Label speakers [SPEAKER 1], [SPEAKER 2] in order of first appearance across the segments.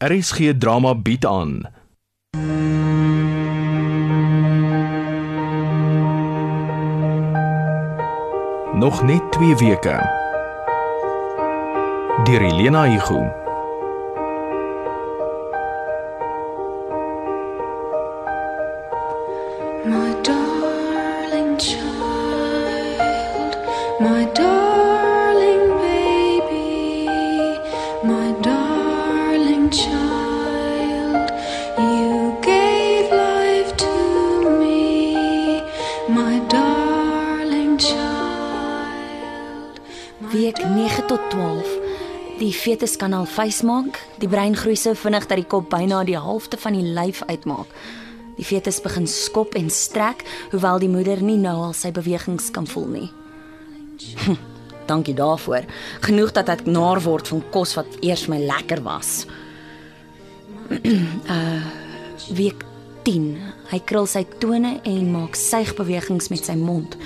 [SPEAKER 1] RSG Drama bied aan Nog net 2 weke deur Elena Igu
[SPEAKER 2] My darling child, my darling baby, my darling child, you gave life to me, my darling child.
[SPEAKER 3] Week 9 tot 12. Die fetus kan al vuis maak. Die brein groei so vinnig dat die kop byna die helfte van die lyf uitmaak. Die fetus begin skop en strek, hoewel die moeder nie nou al sy bewegings kan voel nie. Hm, Dankie daarvoor. Genoeg dat ek naar word van kos wat eers my lekker was. uh week 10. Hy krul sy tone en maak suigbewegings met sy mond.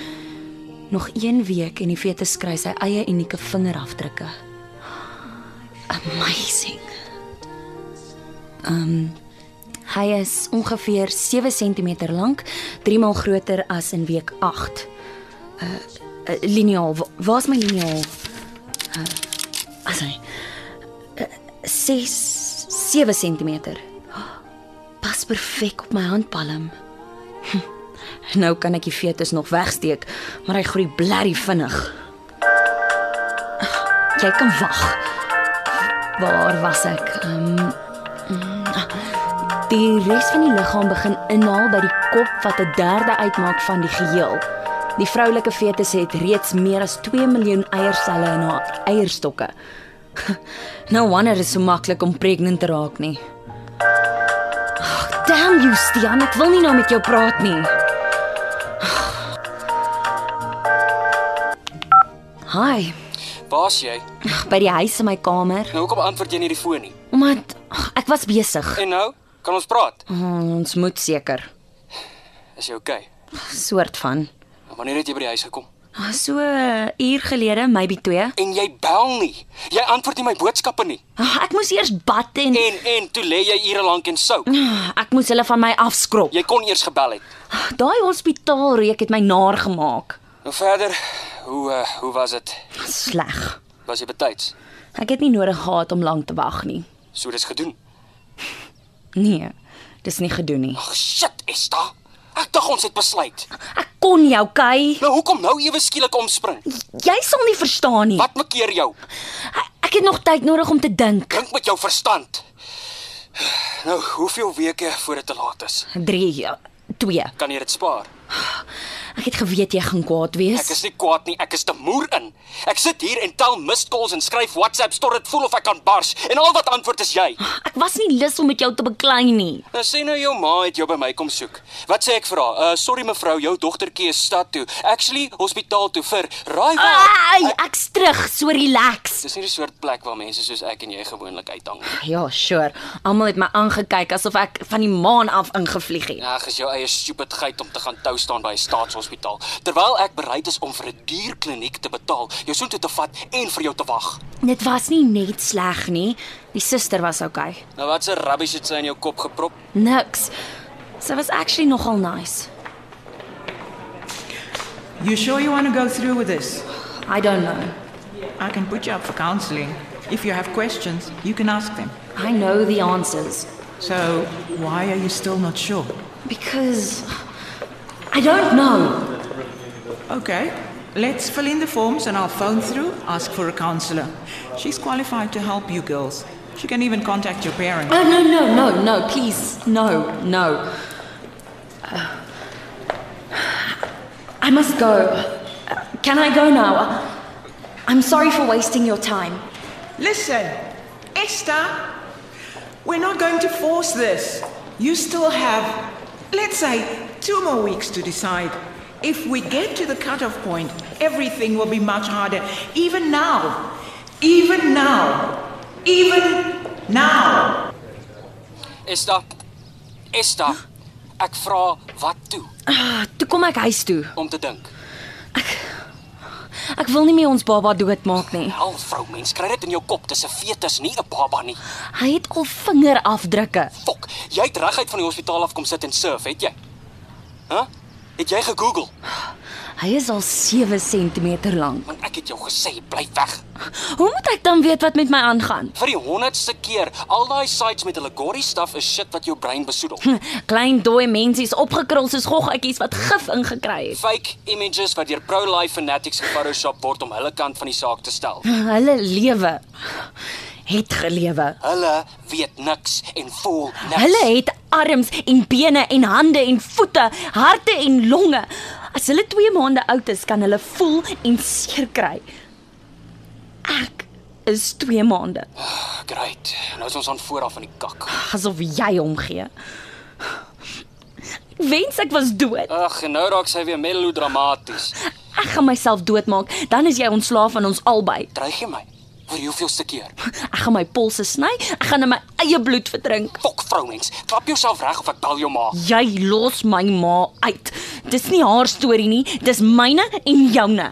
[SPEAKER 3] Nog 1 week en die fetus kry sy eie unieke vingerafdrukke. Amazing. Um hy is ongeveer 7 cm lank, 3 maal groter as in week 8. Uh, uh liniaal, wa- waar's my liniaal? Uh, as hy uh, 6 7 cm. Pas perfek op my handpalm. Nou kan ek die fetus nog wegsteek, maar hy groei blerry vinnig. Jy kan wag. Waar was ek? Ehm um, die res van die liggaam begin inhaal by die kop wat 'n derde uitmaak van die geheel. Die vroulike fetus het reeds meer as 2 miljoen eierselle in haar eierstokke. No wonder dit so maklik om pregnant te raak nie. Ag, damn you, Stian, ek wil nie nou met jou praat nie. Hi,
[SPEAKER 4] Waar's jy?
[SPEAKER 3] by die huis in my kamer,
[SPEAKER 4] Nou hoekom antwoord jy nie die foon nie?
[SPEAKER 3] omdat ag, ek was besig.
[SPEAKER 4] En nou, kan ons praat?
[SPEAKER 3] Ons moet seker,
[SPEAKER 4] Is jy okay? Nou,
[SPEAKER 3] soort van.
[SPEAKER 4] Wanneer het jy by die huis gekom?
[SPEAKER 3] Ah, So 'n uur gelede, maybe 2.
[SPEAKER 4] En jy bel nie. Jy antwoord nie my boodskappe nie.
[SPEAKER 3] Ag, ek moes eers bad en
[SPEAKER 4] En en toe lê jy ure lank en sou.
[SPEAKER 3] Ah, ek moes hulle van my afskrob.
[SPEAKER 4] Jy kon eers gebel het.
[SPEAKER 3] Daai hospitaalreuk het my naar gemaak.
[SPEAKER 4] Nou verder, hoe uh, hoe was dit?
[SPEAKER 3] Sleg.
[SPEAKER 4] Was jy betyds?
[SPEAKER 3] Ek het nie nodig gehad om lank te wag nie.
[SPEAKER 4] So dis gedoen.
[SPEAKER 3] Nee, dis nie gedoen nie.
[SPEAKER 4] Ag shit, Esta. Ek dink ons het besluit.
[SPEAKER 3] Ek kon jou kei.
[SPEAKER 4] Nou hoekom nou ewe skielik omspring?
[SPEAKER 3] Jy sal nie verstaan nie.
[SPEAKER 4] Wat maak keer jou?
[SPEAKER 3] Ek- Ek het nog tyd nodig om te dink.
[SPEAKER 4] Dink met jou verstand. Nou, hoeveel weke voor dit te laat is?
[SPEAKER 3] 3 2.
[SPEAKER 4] Kan jy dit spaar?
[SPEAKER 3] Ek het geweet jy gaan kwaad
[SPEAKER 4] Ek is
[SPEAKER 3] wees.
[SPEAKER 4] nie kwaad nie, ek is te moer in. Ek sit hier en tel missed calls en skryf WhatsApps tot dit voel of ek kan bars en al wat antwoord is jy.
[SPEAKER 3] Ek was nie lus om met jou te beklei nie.
[SPEAKER 4] Nou sê nou jou ma het jou by my kom soek. Wat sê ek vir haar? Uh sorry mevrou, jou dogtertjie is stad toe. Actually hospitaal toe vir raai
[SPEAKER 3] Ah.
[SPEAKER 4] waar.
[SPEAKER 3] Ai, ek's terug, so relaxed.
[SPEAKER 4] Dis nie die soort plek waar mense soos ek en jy gewoonlik uithang nie.
[SPEAKER 3] Ja, sure. Almal het my aangekyk asof ek van die maan af ingevlieg het.
[SPEAKER 4] Ag, is jou eie stupid geit om te gaan tou staan by 'n staatshospitaal terwyl ek bereid is om vir 'n dierkliniek te betaal, jou soontoe te vat en vir jou te wag.
[SPEAKER 3] Dit was nie net sleg nie. Die suster was okay.
[SPEAKER 4] Nou wat se rubbish het sy in jou kop geprop?
[SPEAKER 3] Niks. Sy was actually nogal nice.
[SPEAKER 5] You sure you want to go through with this?
[SPEAKER 3] I don't know.
[SPEAKER 5] I can put you up for counseling. If you have questions, you can ask them.
[SPEAKER 3] I know the answers
[SPEAKER 5] So, why are you still not sure?
[SPEAKER 3] because I don't know.
[SPEAKER 5] Okay, let's fill in the forms and I'll phone through, ask for a counselor. She's qualified to help you girls. She can even contact your parents.
[SPEAKER 3] Oh no, no, no, no. Please. No, no. Uh, I must go. Uh, Can I go now? I'm sorry for wasting your time.
[SPEAKER 5] Listen, Esther, we're not going to force this. You still have, let's say, two more weeks to decide. If we get to the cutoff point, everything will be much harder. Even now. Even now. Even now.
[SPEAKER 4] Esta. Esta. Ek vra wat toe
[SPEAKER 3] Toe kom ek huis toe.
[SPEAKER 4] om te dink.
[SPEAKER 3] Ek wil nie meer ons baba doodmaak nie.
[SPEAKER 4] Al vrou mens, kry dit in jou kop, dis 'n fetus, nie 'n baba nie.
[SPEAKER 3] Hy het al vingerafdrukke.
[SPEAKER 4] Fok, jy het reguit van die hospitaal af kom sit en surf, het jy? Hæ? Huh? Het jy gegoogel?
[SPEAKER 3] Hy is al 7 cm lank.
[SPEAKER 4] Want ek het jou gesê, bly weg.
[SPEAKER 3] Hoe moet ek dan weet wat met my aangaan?
[SPEAKER 4] Vir die 100ste keer, al daai sites met hulle gory stuff is shit wat jou brein besoedel.
[SPEAKER 3] Klein dooi mensies opgekrul soos goggetjies wat gif ingekry het.
[SPEAKER 4] Fake images wat deur pro-life fanatics gefotoshop word om hulle kant van die saak te stel.
[SPEAKER 3] Hulle lewe het gelewe.
[SPEAKER 4] Hulle weet niks en voel niks.
[SPEAKER 3] Hulle het arms en bene en hande en voete, harte en longe. As hulle 2 maande oud is, kan hulle voel en seer kry. Ek is 2 maande,
[SPEAKER 4] Great. Nou is ons aan vooraf in die kak.
[SPEAKER 3] asof jy hom gee. Ek wens ek was dood.
[SPEAKER 4] Ag, en nou raak sy weer melodramaties.
[SPEAKER 3] Ek gaan myself doodmaak, dan is jy ontslaaf van ons albei.
[SPEAKER 4] Dreig jy my? Vir hoeveelste keer?
[SPEAKER 3] Ek gaan my polse sny, ek gaan in my eie bloed verdrink.
[SPEAKER 4] Fok vrouens, klap jouself reg of ek bel jou ma.
[SPEAKER 3] Jy los my ma uit. Dis nie haar storie nie, dis myne en joune.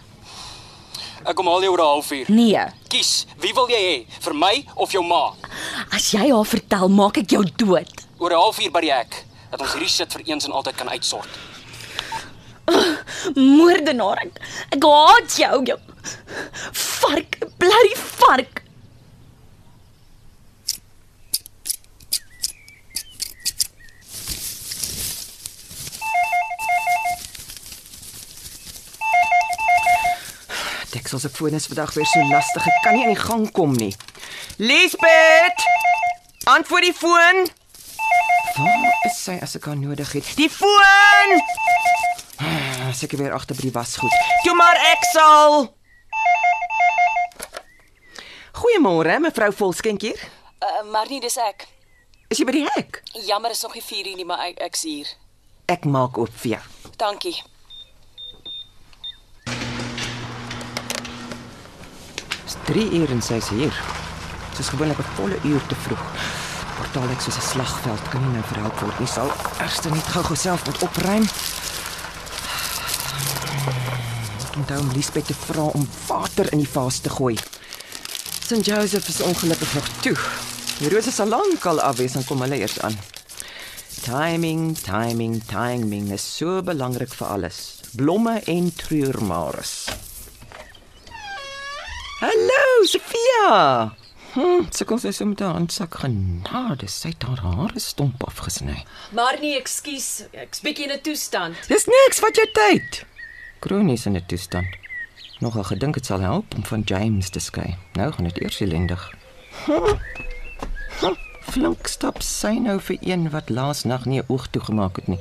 [SPEAKER 4] Ek kom haal jou oor 'n halfuur.
[SPEAKER 3] Nee.
[SPEAKER 4] Kies, wie wil jy hê? Vir my of jou ma?
[SPEAKER 3] As jy haar vertel, maak ek jou dood.
[SPEAKER 4] Oor 'n halfuur by die hek. Dat ons hierdie shit vir eens en altyd kan uitsort.
[SPEAKER 3] Moordenaar. Ek, ek haat jou, jou. Vark, bly vark.
[SPEAKER 6] Deksel se foon is vandag weer so lastig. Ek kan nie aan die gang kom nie. Lisbeth! Antwoord die foon. Waar is sy as ek haar nodig het? Die foon! Ah, Seker weer agter by die wasgoed. Toe maar ek sal. Goeiemôre, mevrou Volskenk hier.
[SPEAKER 7] Uh, maar nie dis ek.
[SPEAKER 6] Is jy by die hek?
[SPEAKER 7] Jammer is nog nie 4 uur nie, maar ek ek's hier.
[SPEAKER 6] Ek maak oop vir jou.
[SPEAKER 7] Dankie.
[SPEAKER 6] Dis 3 uur en sy's hier. Sy's gewoonlik 'n volle uur te vroeg. Portaal ek soos 'n slagveld kan nie nou verhelp word nie. Sal eerste net gou-gou self moet opruim. Ek Onthou om Lisbeth te vra om water in die vaas te gooi. St. Joseph is ongelukkig nog toe. Die rose sal lank al af wees en kom hulle eers aan. Timing, timing, timing is so belangrik vir alles. Blomme en treurmares. Hallo, Sofia. Hm, sy kom sy so met haar handsak genade, sy het haar hare stomp afgesny.
[SPEAKER 7] Maar nee, ekskuus. Ek's bietjie in 'n toestand.
[SPEAKER 6] Dis niks wat jou tyd. Kronies in 'n toestand. Nogal gedink dit sal help om van James te skei. Nou gaan dit eers elendig. Hm, hm, Flink stap sy nou vir een wat laas nag nie 'n oog toegemaak het nie.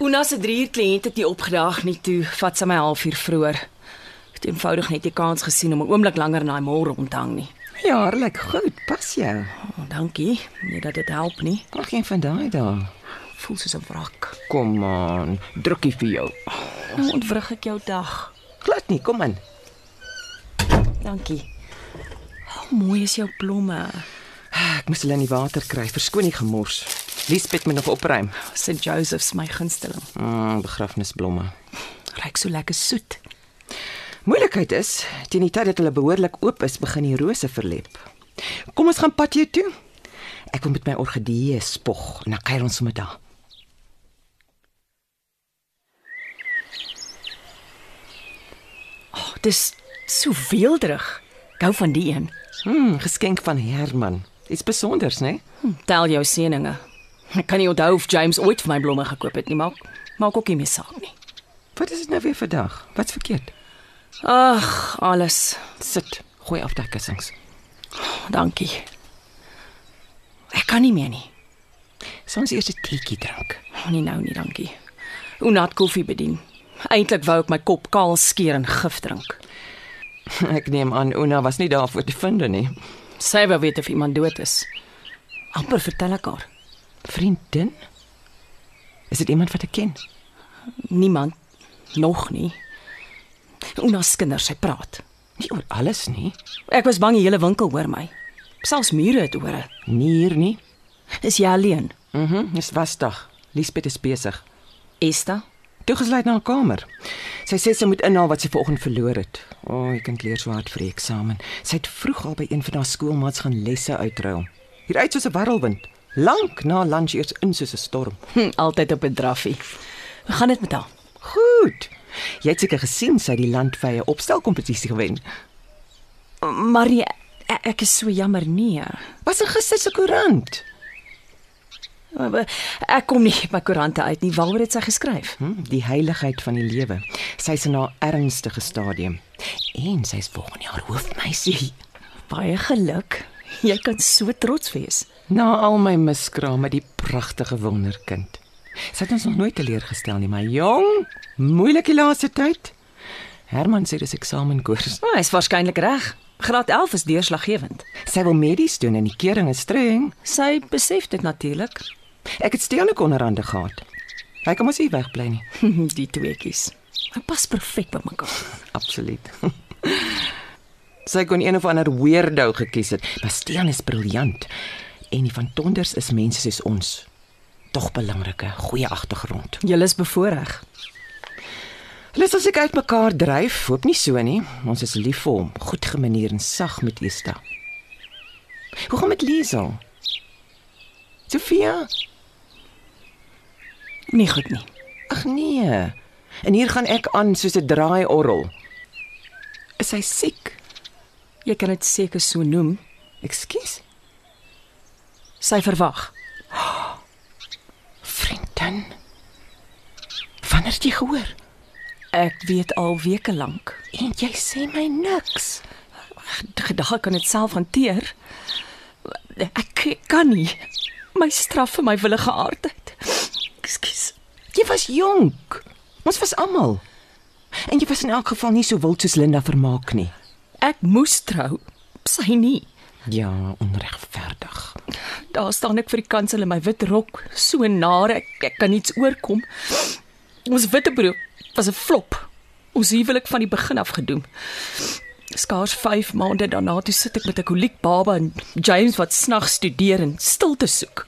[SPEAKER 7] Una se 3 uur kliënt het nie opgedaag nie toe, vat sy my halfuur vroeër. Ek het eenvoudig net die kans gesien om 'n oomblik langer in daai mol rond te hang nie.
[SPEAKER 6] Ja, haar lyk goed, pas jou.
[SPEAKER 7] Oh, dankie. Nee, dat dit help nie.
[SPEAKER 6] Nog geen van daai daar.
[SPEAKER 7] Voel soos 'n wrak.
[SPEAKER 6] Kom aan, drukkie vir jou.
[SPEAKER 7] Hoe ontwrig ek jou dag?
[SPEAKER 6] Glad nie, kom in.
[SPEAKER 7] Dankie. Hoe mooi is jou blomme.
[SPEAKER 6] Ek moes hulle in die water kry, verskoon die gemors. Lisbeth moet nog opruim.
[SPEAKER 7] St. Joseph's my gunsteling.
[SPEAKER 6] Mm, begrafnisblomme.
[SPEAKER 7] Ryk so lekker soet.
[SPEAKER 6] Moeilikheid is, teen die tyd dat hulle behoorlik oop is, begin die rose verlep. Kom ons gaan patio toe. Ek wil met my orgidee spog en dan kuier ons sommer daar.
[SPEAKER 7] Oh, dis so weelderig. Ek hou van die een.
[SPEAKER 6] Mm, geskenk van Herman. Iets spesiaals, né?
[SPEAKER 7] Tel jou seëninge. Ek kan nie onthou of James ooit vir my blomme gekoop het nie, maar maak ook nie meer saak nie.
[SPEAKER 6] Wat is dit nou weer vandag? Wat's verkeerd?
[SPEAKER 7] Ag, alles.
[SPEAKER 6] Sit, gooi af daai kussings.
[SPEAKER 7] Dankie. Ek kan nie meer nie.
[SPEAKER 6] Soms eers 'n teetjie drink.
[SPEAKER 7] Nie nou nie, dankie. Oonat koffie bedien. Eintlik wou ek my kop kaal skeer en gif drink.
[SPEAKER 6] Ek neem aan Una was nie daarvoor te vind nie.
[SPEAKER 7] Sy wou weet of iemand dood is. amper vertel ek haar.
[SPEAKER 6] Vriendin? Is dit iemand wat ek ken?
[SPEAKER 7] Niemand nog nie. Oonat se kinders, sy praat.
[SPEAKER 6] Nie oor alles nie.
[SPEAKER 7] Ek was bang die hele winkel hoor my. Selfs mure het ore.
[SPEAKER 6] Nie hier nie.
[SPEAKER 7] Is jy alleen?
[SPEAKER 6] Mhm, mm dis wasdag. Lisbeth is besig.
[SPEAKER 7] Esther?
[SPEAKER 6] Toegesluit na haar kamer. Sy sê sy moet inhaal wat sy vanoggend verloor het. O, oh, ek kan leer so hard vir die eksamen. Sy het vroeg al by een van haar skoolmaats gaan lesse uitruil. Hier uit soos 'n warrelwind. Lank na lunch eers in soos 'n storm.
[SPEAKER 7] Hm, altyd op 'n draffie. Hoe gaan dit met haar?
[SPEAKER 6] Goed. Jy het seker gesien sy het die landwye opstelkompetisie gewen.
[SPEAKER 7] Marie, e- ek is so jammer nee.
[SPEAKER 6] Was in gister se koerant.
[SPEAKER 7] Ek kom nie by koerante uit nie. Waaroor het sy geskryf?
[SPEAKER 6] Hm, die heiligheid van die lewe. Sy's in haar ernstige stadium en sy's volgende jaar hoofmeisie.
[SPEAKER 7] Baie geluk. Jy kan so trots wees.
[SPEAKER 6] Na al my miskrame, die pragtige wonderkind. Sy het ons nog nooit teleurgestel nie, maar jong, moeilik die laaste tyd. Herman sê dis eksamenkoers.
[SPEAKER 7] Maar Ja, hy's waarskynlik reg. Graad 11 is deurslaggewend.
[SPEAKER 6] Sy wil medies doen en die kering is streng.
[SPEAKER 7] Sy besef dit natuurlik.
[SPEAKER 6] Ek het stedelik onderhande gehad. Hy kan mos nie wegbly nie.
[SPEAKER 7] Die tweeetjies. Hulle pas perfek by mekaar.
[SPEAKER 6] Absoluut. Sy kon een of ander weirdo gekies het, maar Steen is briljant en die van Tonders is mense soos ons. Tog belangrike, goeie agtergrond.
[SPEAKER 7] Julle is bevoordeel.
[SPEAKER 6] Hulle sal seker uitmekaar dryf, hoop nie so nie. Ons is lief vir hom, goed gemanier en sag met Esta. Hoe gaan met Liesel? Sofia?
[SPEAKER 7] Nie goed nie.
[SPEAKER 6] Ag nee. En hier gaan ek aan soos 'n draaiorgel. Is hy siek?
[SPEAKER 7] Jy kan dit seker so noem.
[SPEAKER 6] Ekskuus.
[SPEAKER 7] Sy verwag.
[SPEAKER 6] Vriendin. Wanneer het jy gehoor?
[SPEAKER 7] Ek weet al weke lank.
[SPEAKER 6] En jy sê my niks.
[SPEAKER 7] Gedagte kan dit self hanteer. Ek kan nie. My straf vir my willige aardheid. Ekskuus.
[SPEAKER 6] Jy was jonk. Ons was almal. En jy was in elk geval nie so wild soos Linda vermaak nie.
[SPEAKER 7] Ek moes trou. Sy nie.
[SPEAKER 6] Ja, onregverdig.
[SPEAKER 7] Daar staan ek vir die kansel in my wit rok, so nare ek, ek kan niks oorkom. Ons witbrood was 'n flop. Ons huwelik van die begin af gedoem. Skaars 5 maande daarna toe sit ek met 'n koliek baba en James wat snags studeer en stilte soek.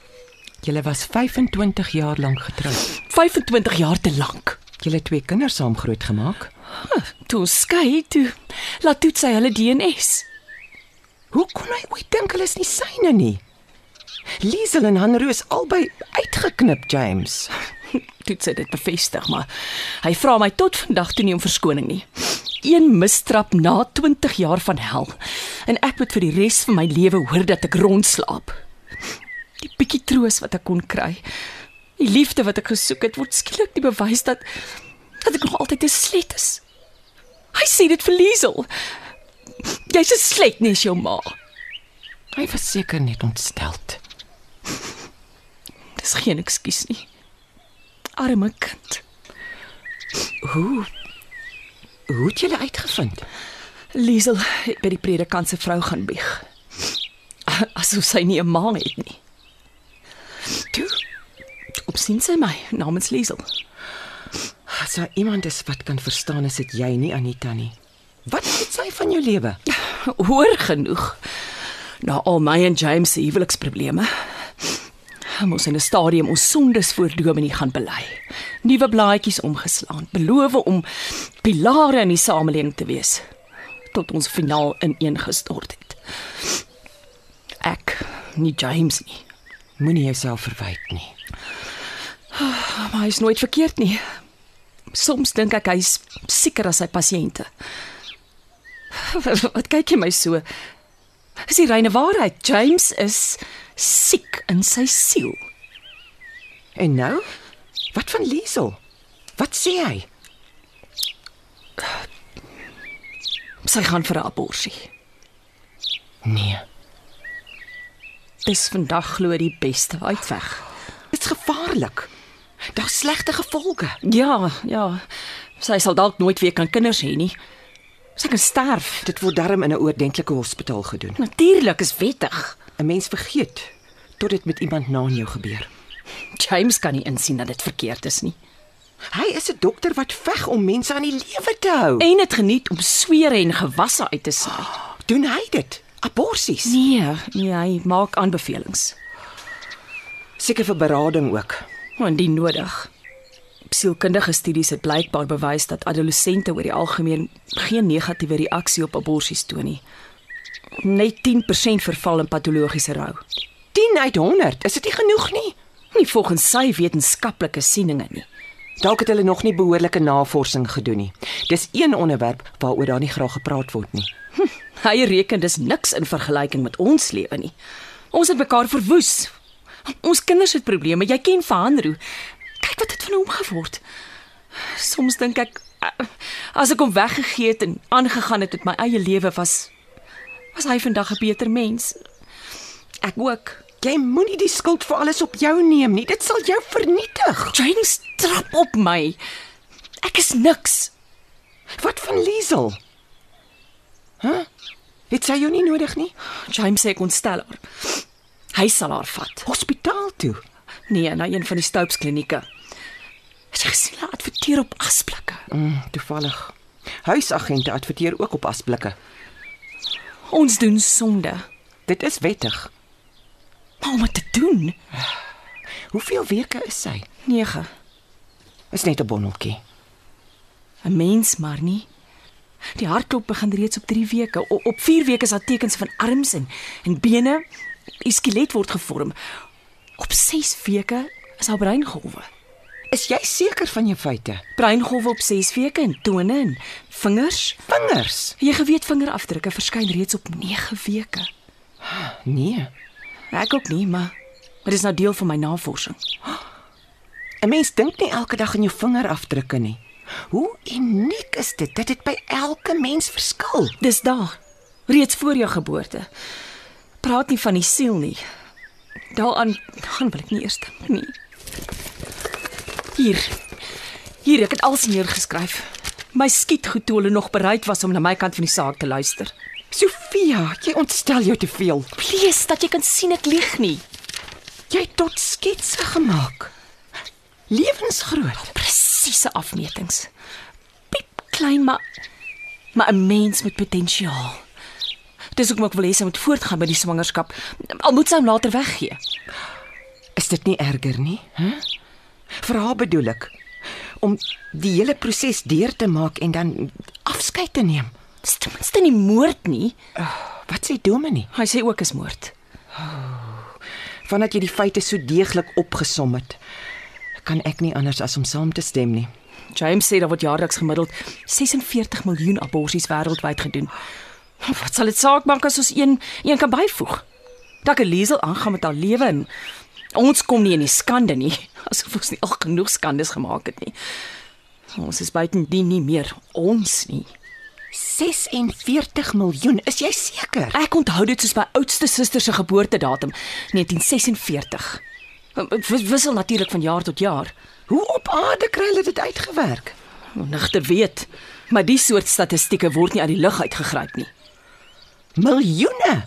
[SPEAKER 6] Julle was 25 jaar lank getroud.
[SPEAKER 7] 25 jaar te lank.
[SPEAKER 6] Julle twee kinders saam grootgemaak.
[SPEAKER 7] Toe ons skei toe laat toets sy hulle DNS.
[SPEAKER 6] Hoe kon hy ooit dink hulle is nie syne nie? Liesel en Hanroos albei uitgeknip, James.
[SPEAKER 7] Toets sy dit bevestig, maar hy vra my tot vandag toe nie om verskoning nie. Een misstrap na 20 jaar van hel en ek moet vir die res van my lewe hoor dat ek rondslaap. Die bietjie troos wat ek kon kry. Die liefde wat ek gesoek het, word skielik die bewys dat dat ek nog altyd 'n slet is. Hy sê dit vir Liesel. Jy's 'n slet nie, is jou ma.
[SPEAKER 6] Hy was seker net ontsteld.
[SPEAKER 7] Dis geen ekskuus nie. Arme kind.
[SPEAKER 6] Hoe het julle uitgevind?
[SPEAKER 7] Liesel het by die predikant se vrou gaan bieg. Asof sy nie 'n ma het nie. Toe opsien sy my namens Liesel.
[SPEAKER 6] As daar iemand is wat kan verstaan, is dit jy nie Anita nie. Wat weet sy van jou lewe?
[SPEAKER 7] Hoor genoeg. Na al my en James se huweliksprobleme. Ons in 'n stadium ons sondes voor Dominee gaan bely. Nuwe blaadjies omgeslaan, beloof om pilare in die samelewing te wees tot ons finaal ineengestort het. Ek, nie James nie.
[SPEAKER 6] Moenie jouself verwyd nie.
[SPEAKER 7] Maar hy's nooit verkeerd nie. Soms dink ek hy's sieker as sy pasiënte. Wat kyk jy my so? Dis die reine waarheid. James is siek in sy siel.
[SPEAKER 6] En nou? Wat van Liesel? Wat sê hy?
[SPEAKER 7] Sy gaan vir 'n abortus.
[SPEAKER 6] Nee.
[SPEAKER 7] Dis vandag glo die beste uitweg.
[SPEAKER 6] Dit's gevaarlik. Daar's slegte gevolge.
[SPEAKER 7] Ja, ja. Sy sal dalk nooit weer kan kinders hê nie. Sy kan sterf.
[SPEAKER 6] Dit word darm in 'n oordentlike hospitaal gedoen.
[SPEAKER 7] Natuurlik is wettig.
[SPEAKER 6] 'n Mens vergeet tot dit met iemand na aan jou gebeur.
[SPEAKER 7] James kan nie insien dat dit verkeerd is nie.
[SPEAKER 6] Hy is 'n dokter wat veg om mense aan die lewe te hou. En
[SPEAKER 7] En dit geniet om swere en gewasse uit te saai.
[SPEAKER 6] doen hy dit? Aborsies.
[SPEAKER 7] Ah, Nee, nee, hy maak aanbevelings
[SPEAKER 6] Seker vir berading ook.
[SPEAKER 7] indien nodig. Sielkundige studies het blykbaar bewys dat adolessente oor die algemeen geen negatiewe reaksie op aborsies toon nie. Net 10% verval in patologiese rou.
[SPEAKER 6] 10 uit 100, is dit nie genoeg nie?
[SPEAKER 7] Nie volgens sy wetenskaplike sieninge nie.
[SPEAKER 6] Dalk het hulle nog nie behoorlike navorsing gedoen nie. Dis een onderwerp waaroor daar nie graag gepraat word nie.
[SPEAKER 7] Hy reken dis niks in vergelyking met ons lewe nie. Ons het mekaar verwoes. Ons kinders het probleme. Jy ken Vanroo. Kyk wat het van hom geword. Soms dink ek eh, as ek hom weggegee het en aangegaan het met my eie lewe was was hy vandag 'n beter mens. Ek ook.
[SPEAKER 6] Jy moenie die skuld vir alles op jou neem nie. Dit sal jou vernietig.
[SPEAKER 7] Jane strap op my. Ek is niks.
[SPEAKER 6] Wat van Liesel? Hæ? Huh? Het sy jou nie nodig nie?
[SPEAKER 7] James sê ek ontstel haar. Hy sal haar vat.
[SPEAKER 6] Hospitaal toe.
[SPEAKER 7] Nee, na een van die Stoupes klinieke. Sy gesien hulle adverteer op asblikke.
[SPEAKER 6] Mm, toevallig. Huisagente adverteer ook op asblikke.
[SPEAKER 7] Ons doen sonde.
[SPEAKER 6] Dit is wettig.
[SPEAKER 7] Maar om dit te doen.
[SPEAKER 6] Hoeveel weke is sy?
[SPEAKER 7] 9.
[SPEAKER 6] Is net 'n bonneltjie.
[SPEAKER 7] 'n Mens maar nie. Die hartklop begin reeds op 3 weke. O, op 4 weke is daar tekens van arms en en bene. Die skelet word gevorm. Op 6 weke is haar breingolwe.
[SPEAKER 6] Is jy seker van jou feite?
[SPEAKER 7] Breingolwe op 6 weke en tone en vingers.
[SPEAKER 6] Vingers?
[SPEAKER 7] Jy geweet vingerafdrukke verskyn reeds op 9 weke.
[SPEAKER 6] Nee.
[SPEAKER 7] Ek ook nie, maar dit is nou deel van my navorsing.
[SPEAKER 6] 'n Mens dink nie elke dag aan jou vingerafdrukke nie. Hoe uniek is dit dat dit by elke mens verskil.
[SPEAKER 7] Dis daar, reeds voor jou geboorte. Praat nie van die siel nie. Daaraan gaan wil ek nie eers dink nie. Hier. Hier, ek het alles neergeskryf. My skiet goed toe hulle nog bereid was om na my kant van die saak te luister.
[SPEAKER 6] Sofia, jy ontstel jou te veel.
[SPEAKER 7] Plees dat jy kan sien ek lieg nie.
[SPEAKER 6] Jy het tot sketse gemaak. Lewensgroot.
[SPEAKER 7] Presiese afmetings. Piep klein maar maar 'n mens met potensiaal. Dis hoekom ek wil hê sy moet voortgaan met die swangerskap. Al moet sy hom later weggee.
[SPEAKER 6] Is dit nie erger nie? Hæ? Vir haar bedoel ek om die hele proses deur te maak en dan afskeid te neem.
[SPEAKER 7] Dis ten minste nie moord nie.
[SPEAKER 6] Wat sê Dominie?
[SPEAKER 7] Hy sê ook is moord.
[SPEAKER 6] Vandat jy die feite so deeglik opgesom het, kan ek nie anders as om saam te stem nie.
[SPEAKER 7] James sê daar word jaarliks gemiddeld 46 miljoen aborsies wêreldwyd gedoen. Wat sal dit saak maak as ons een een kan byvoeg? Dat Elise aangaan met haar lewe en ons kom nie in die skande nie, asof ons nie al genoeg skandes gemaak het nie. Ons is buitendien nie meer ons nie.
[SPEAKER 6] 46 miljoen, is jy seker?
[SPEAKER 7] Ek onthou dit soos my oudste suster se geboortedatum, 1946. W- Wissel natuurlik van jaar tot jaar.
[SPEAKER 6] Hoe op aarde kry hulle dit uitgewerk?
[SPEAKER 7] Nigter weet, maar die soort statistieke word nie uit die lug uitgegryp nie.
[SPEAKER 6] Miljoene.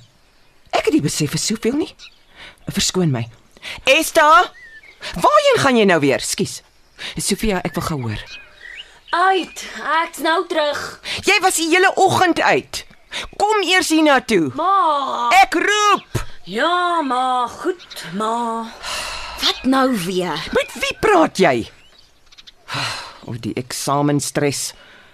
[SPEAKER 6] Ek het nie besef vir soveel nie. Verskoon my. Esta, waarheen gaan jy nou weer? Skus. Sofia, ek wil gou hoor.
[SPEAKER 3] Uit, ek's nou terug.
[SPEAKER 6] Jy was die hele oggend uit. Kom eers hiernatoe.
[SPEAKER 3] Ma.
[SPEAKER 6] Ek roep.
[SPEAKER 3] Ja, ma, goed, ma. Wat nou weer?
[SPEAKER 6] Met wie praat jy? Of die eksamenstres.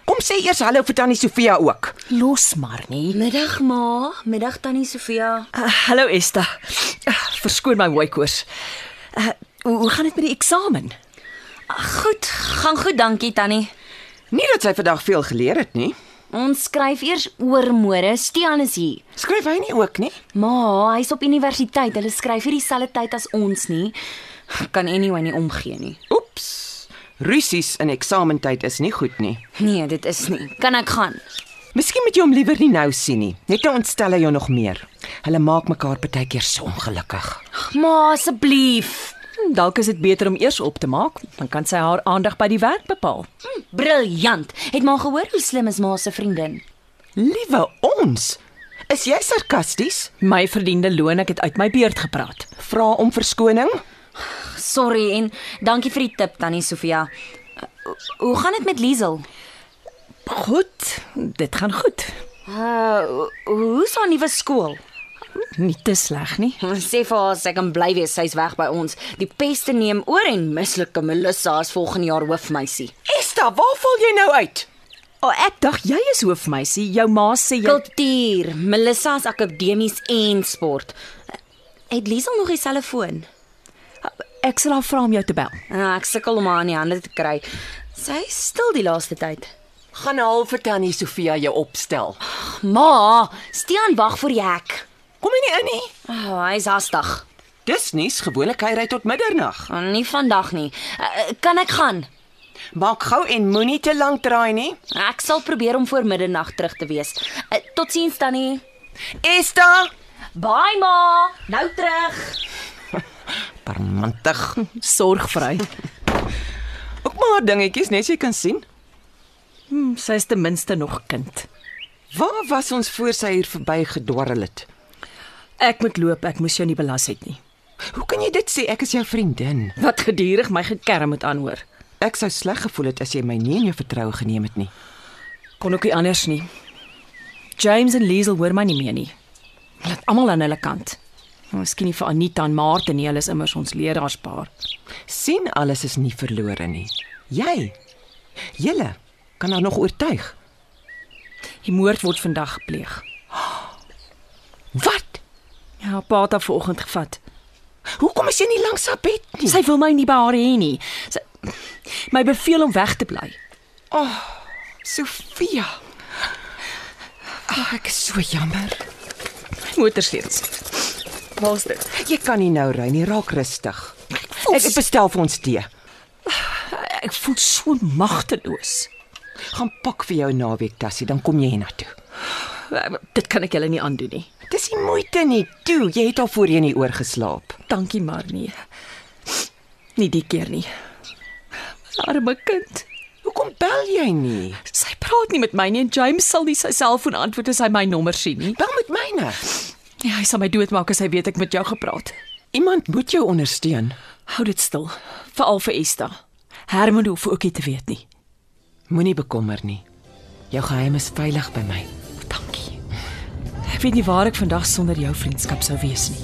[SPEAKER 6] Kom sê eers hallo vir tannie Sofia ook.
[SPEAKER 7] Los maar nie.
[SPEAKER 3] Middag, ma. Middag tannie Sofia.
[SPEAKER 7] Uh, hallo Esta. Uh, verskoon my hooikoors. Uh, hoe, hoe gaan dit met die eksamen?
[SPEAKER 3] Goed, gaan goed, dankie tannie.
[SPEAKER 6] Nie dat sy vandag veel geleer het nie.
[SPEAKER 3] Ons skryf eers oor môre. Stean is hier.
[SPEAKER 6] Skryf hy nie ook nie?
[SPEAKER 3] Ma, hy's op universiteit. Hulle skryf hier dieselfde tyd as ons nie. Kan anyway nie omgee nie.
[SPEAKER 6] Oeps. Russies in eksamentyd is nie goed nie.
[SPEAKER 3] Nee, dit is nie. Kan ek gaan?
[SPEAKER 6] Miskien moet jy hom liewer nie nou sien nie. Net nou ontstel hy jou nog meer. Hulle maak mekaar baie keer so ongelukkig.
[SPEAKER 3] Ma, asseblief.
[SPEAKER 7] Hm, Dalk is dit beter om eers op te maak, dan kan sy haar aandag by die werk bepaal.
[SPEAKER 3] Hmm, Briljant. Het maar gehoor hoe slim is ma se vriendin.
[SPEAKER 6] Liewe ons, is jy sarkasties?
[SPEAKER 7] My verdiende loon, ek het uit my beurt gepraat.
[SPEAKER 6] Vra om verskoning?
[SPEAKER 3] Sorry en dankie vir die tip tannie Sofia. Uh, Hoe gaan dit met Liesel?
[SPEAKER 7] Goed, dit gaan goed.
[SPEAKER 3] Uh, hoe's haar nuwe skool?
[SPEAKER 7] Nie te sleg nie.
[SPEAKER 3] Sê vir haar sy kan bly wees, sy's weg by ons. Die peste neem oor en mislike Melissa is volgende jaar hoofmeisie.
[SPEAKER 5] Esther, waar val jy nou uit?
[SPEAKER 7] O, oh, ek dink jy is hoofmeisie. Jou ma sê
[SPEAKER 3] Ja.
[SPEAKER 7] jy
[SPEAKER 3] Kultuur, Melissa's akademies en sport. Het Liesel nog die selfoon?
[SPEAKER 7] Ek sal haar vra om jou te bel.
[SPEAKER 3] Ah, ek sukkel om haar in die hande te kry. Sy is stil die laaste tyd.
[SPEAKER 6] Gaan haal vir tannie Sofia jou opstel.
[SPEAKER 3] Ma, Stean wag vir die hek.
[SPEAKER 6] Kom jy nie in nie.
[SPEAKER 3] Oh, hy's hastig.
[SPEAKER 6] Dis nuus gewoonlik hy ry tot middernag.
[SPEAKER 3] Oh, nie vandag nie. Uh, kan ek gaan?
[SPEAKER 6] Maak gou en moenie te lank draai nie.
[SPEAKER 3] Ek sal probeer om voor middernag terug te wees. Uh, Totsiens tannie.
[SPEAKER 6] Esther,
[SPEAKER 3] Bye ma. Nou terug.
[SPEAKER 6] parmantig.
[SPEAKER 7] Sorgvry.
[SPEAKER 6] Ook maar dingetjies net so jy kan sien.
[SPEAKER 7] Hm, sy is ten minste nog kind.
[SPEAKER 6] Waar was ons voor sy hier verby gedwarrel het?
[SPEAKER 7] Ek moet loop, ek moes jou nie belas het nie.
[SPEAKER 6] Hoe kan jy dit sê? Ek is jou vriendin.
[SPEAKER 7] Wat gedurig my gekerm moet aanhoor.
[SPEAKER 6] Ek sou sleg gevoel het as jy my nie in jou vertroue geneem het nie.
[SPEAKER 7] Kon ook nie anders nie. James en Liesel hoor my nie meer nie. Hulle het almal aan hulle kant. Nou, Miskien nie vir Anita en Martin nie, hulle is immers ons leeraarspaar.
[SPEAKER 6] sien alles is nie verlore nie. Jy julle kan haar nog oortuig.
[SPEAKER 7] Die moord word vandag gepleeg.
[SPEAKER 6] Wat?
[SPEAKER 7] Ja, pa het haar vanoggend gevat.
[SPEAKER 6] Hoekom is jy nie langs haar bed nie?
[SPEAKER 7] Sy wil my nie by haar hê nie. Sy my beveel om weg te bly.
[SPEAKER 6] Sofia. Ag, ek is so jammer.
[SPEAKER 7] Motorsleutels. Waar's dit?
[SPEAKER 6] Jy kan nie nou ry nie, raak rustig.
[SPEAKER 7] voel
[SPEAKER 6] Ek het bestel vir ons tee.
[SPEAKER 7] Ek voel so magteloos.
[SPEAKER 6] Gaan pak vir jou naweek tassie, dan kom jy hiernatoe.
[SPEAKER 7] Dit kan ek julle nie aandoen nie.
[SPEAKER 6] Dis nie moeite nie, toe, jy het al voorheen nie oorgeslaap.
[SPEAKER 7] Dankie maar nie. Nie die keer nie. My Arme kind.
[SPEAKER 6] Hoekom bel jy nie?
[SPEAKER 7] Sy praat nie met my nie en James sal nie sy selfoon antwoord as hy my nommer sien nie.
[SPEAKER 6] Bel met nou. myne.
[SPEAKER 7] Ja, hy sal my doodmaak as hy weet ek met jou gepraat.
[SPEAKER 6] Iemand moet jou ondersteun.
[SPEAKER 7] Hou dit stil, veral vir Esta. Herman hoef ook nie te weet nie.
[SPEAKER 6] Moenie bekommer nie. Jou geheim is veilig by my.
[SPEAKER 7] Dankie. Ek weet nie waar ek vandag sonder jou vriendskap sou wees nie.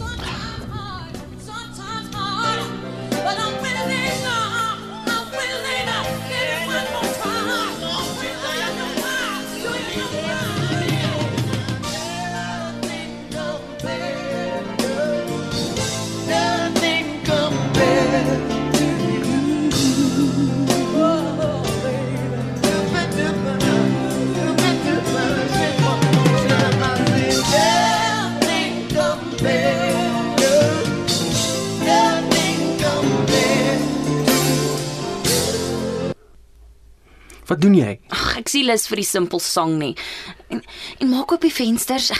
[SPEAKER 4] Wat doen jy?
[SPEAKER 3] Ag, ek sien lus vir die simpel sang nie. En, en maak oop die vensters.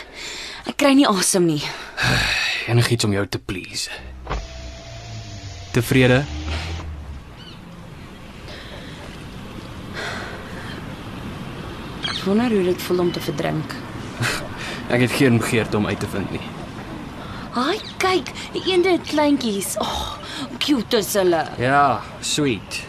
[SPEAKER 3] Ek kry nie asem nie.
[SPEAKER 4] Enigiets om jou te please. Tevrede?
[SPEAKER 3] Ek wonder hoe dit voel om te verdrink.
[SPEAKER 4] Ek het geen begeerte om uit te vind nie.
[SPEAKER 3] Haai, kyk, die eende het kleintjies. Ag, oh, cute is hulle.
[SPEAKER 4] Ja, sweet.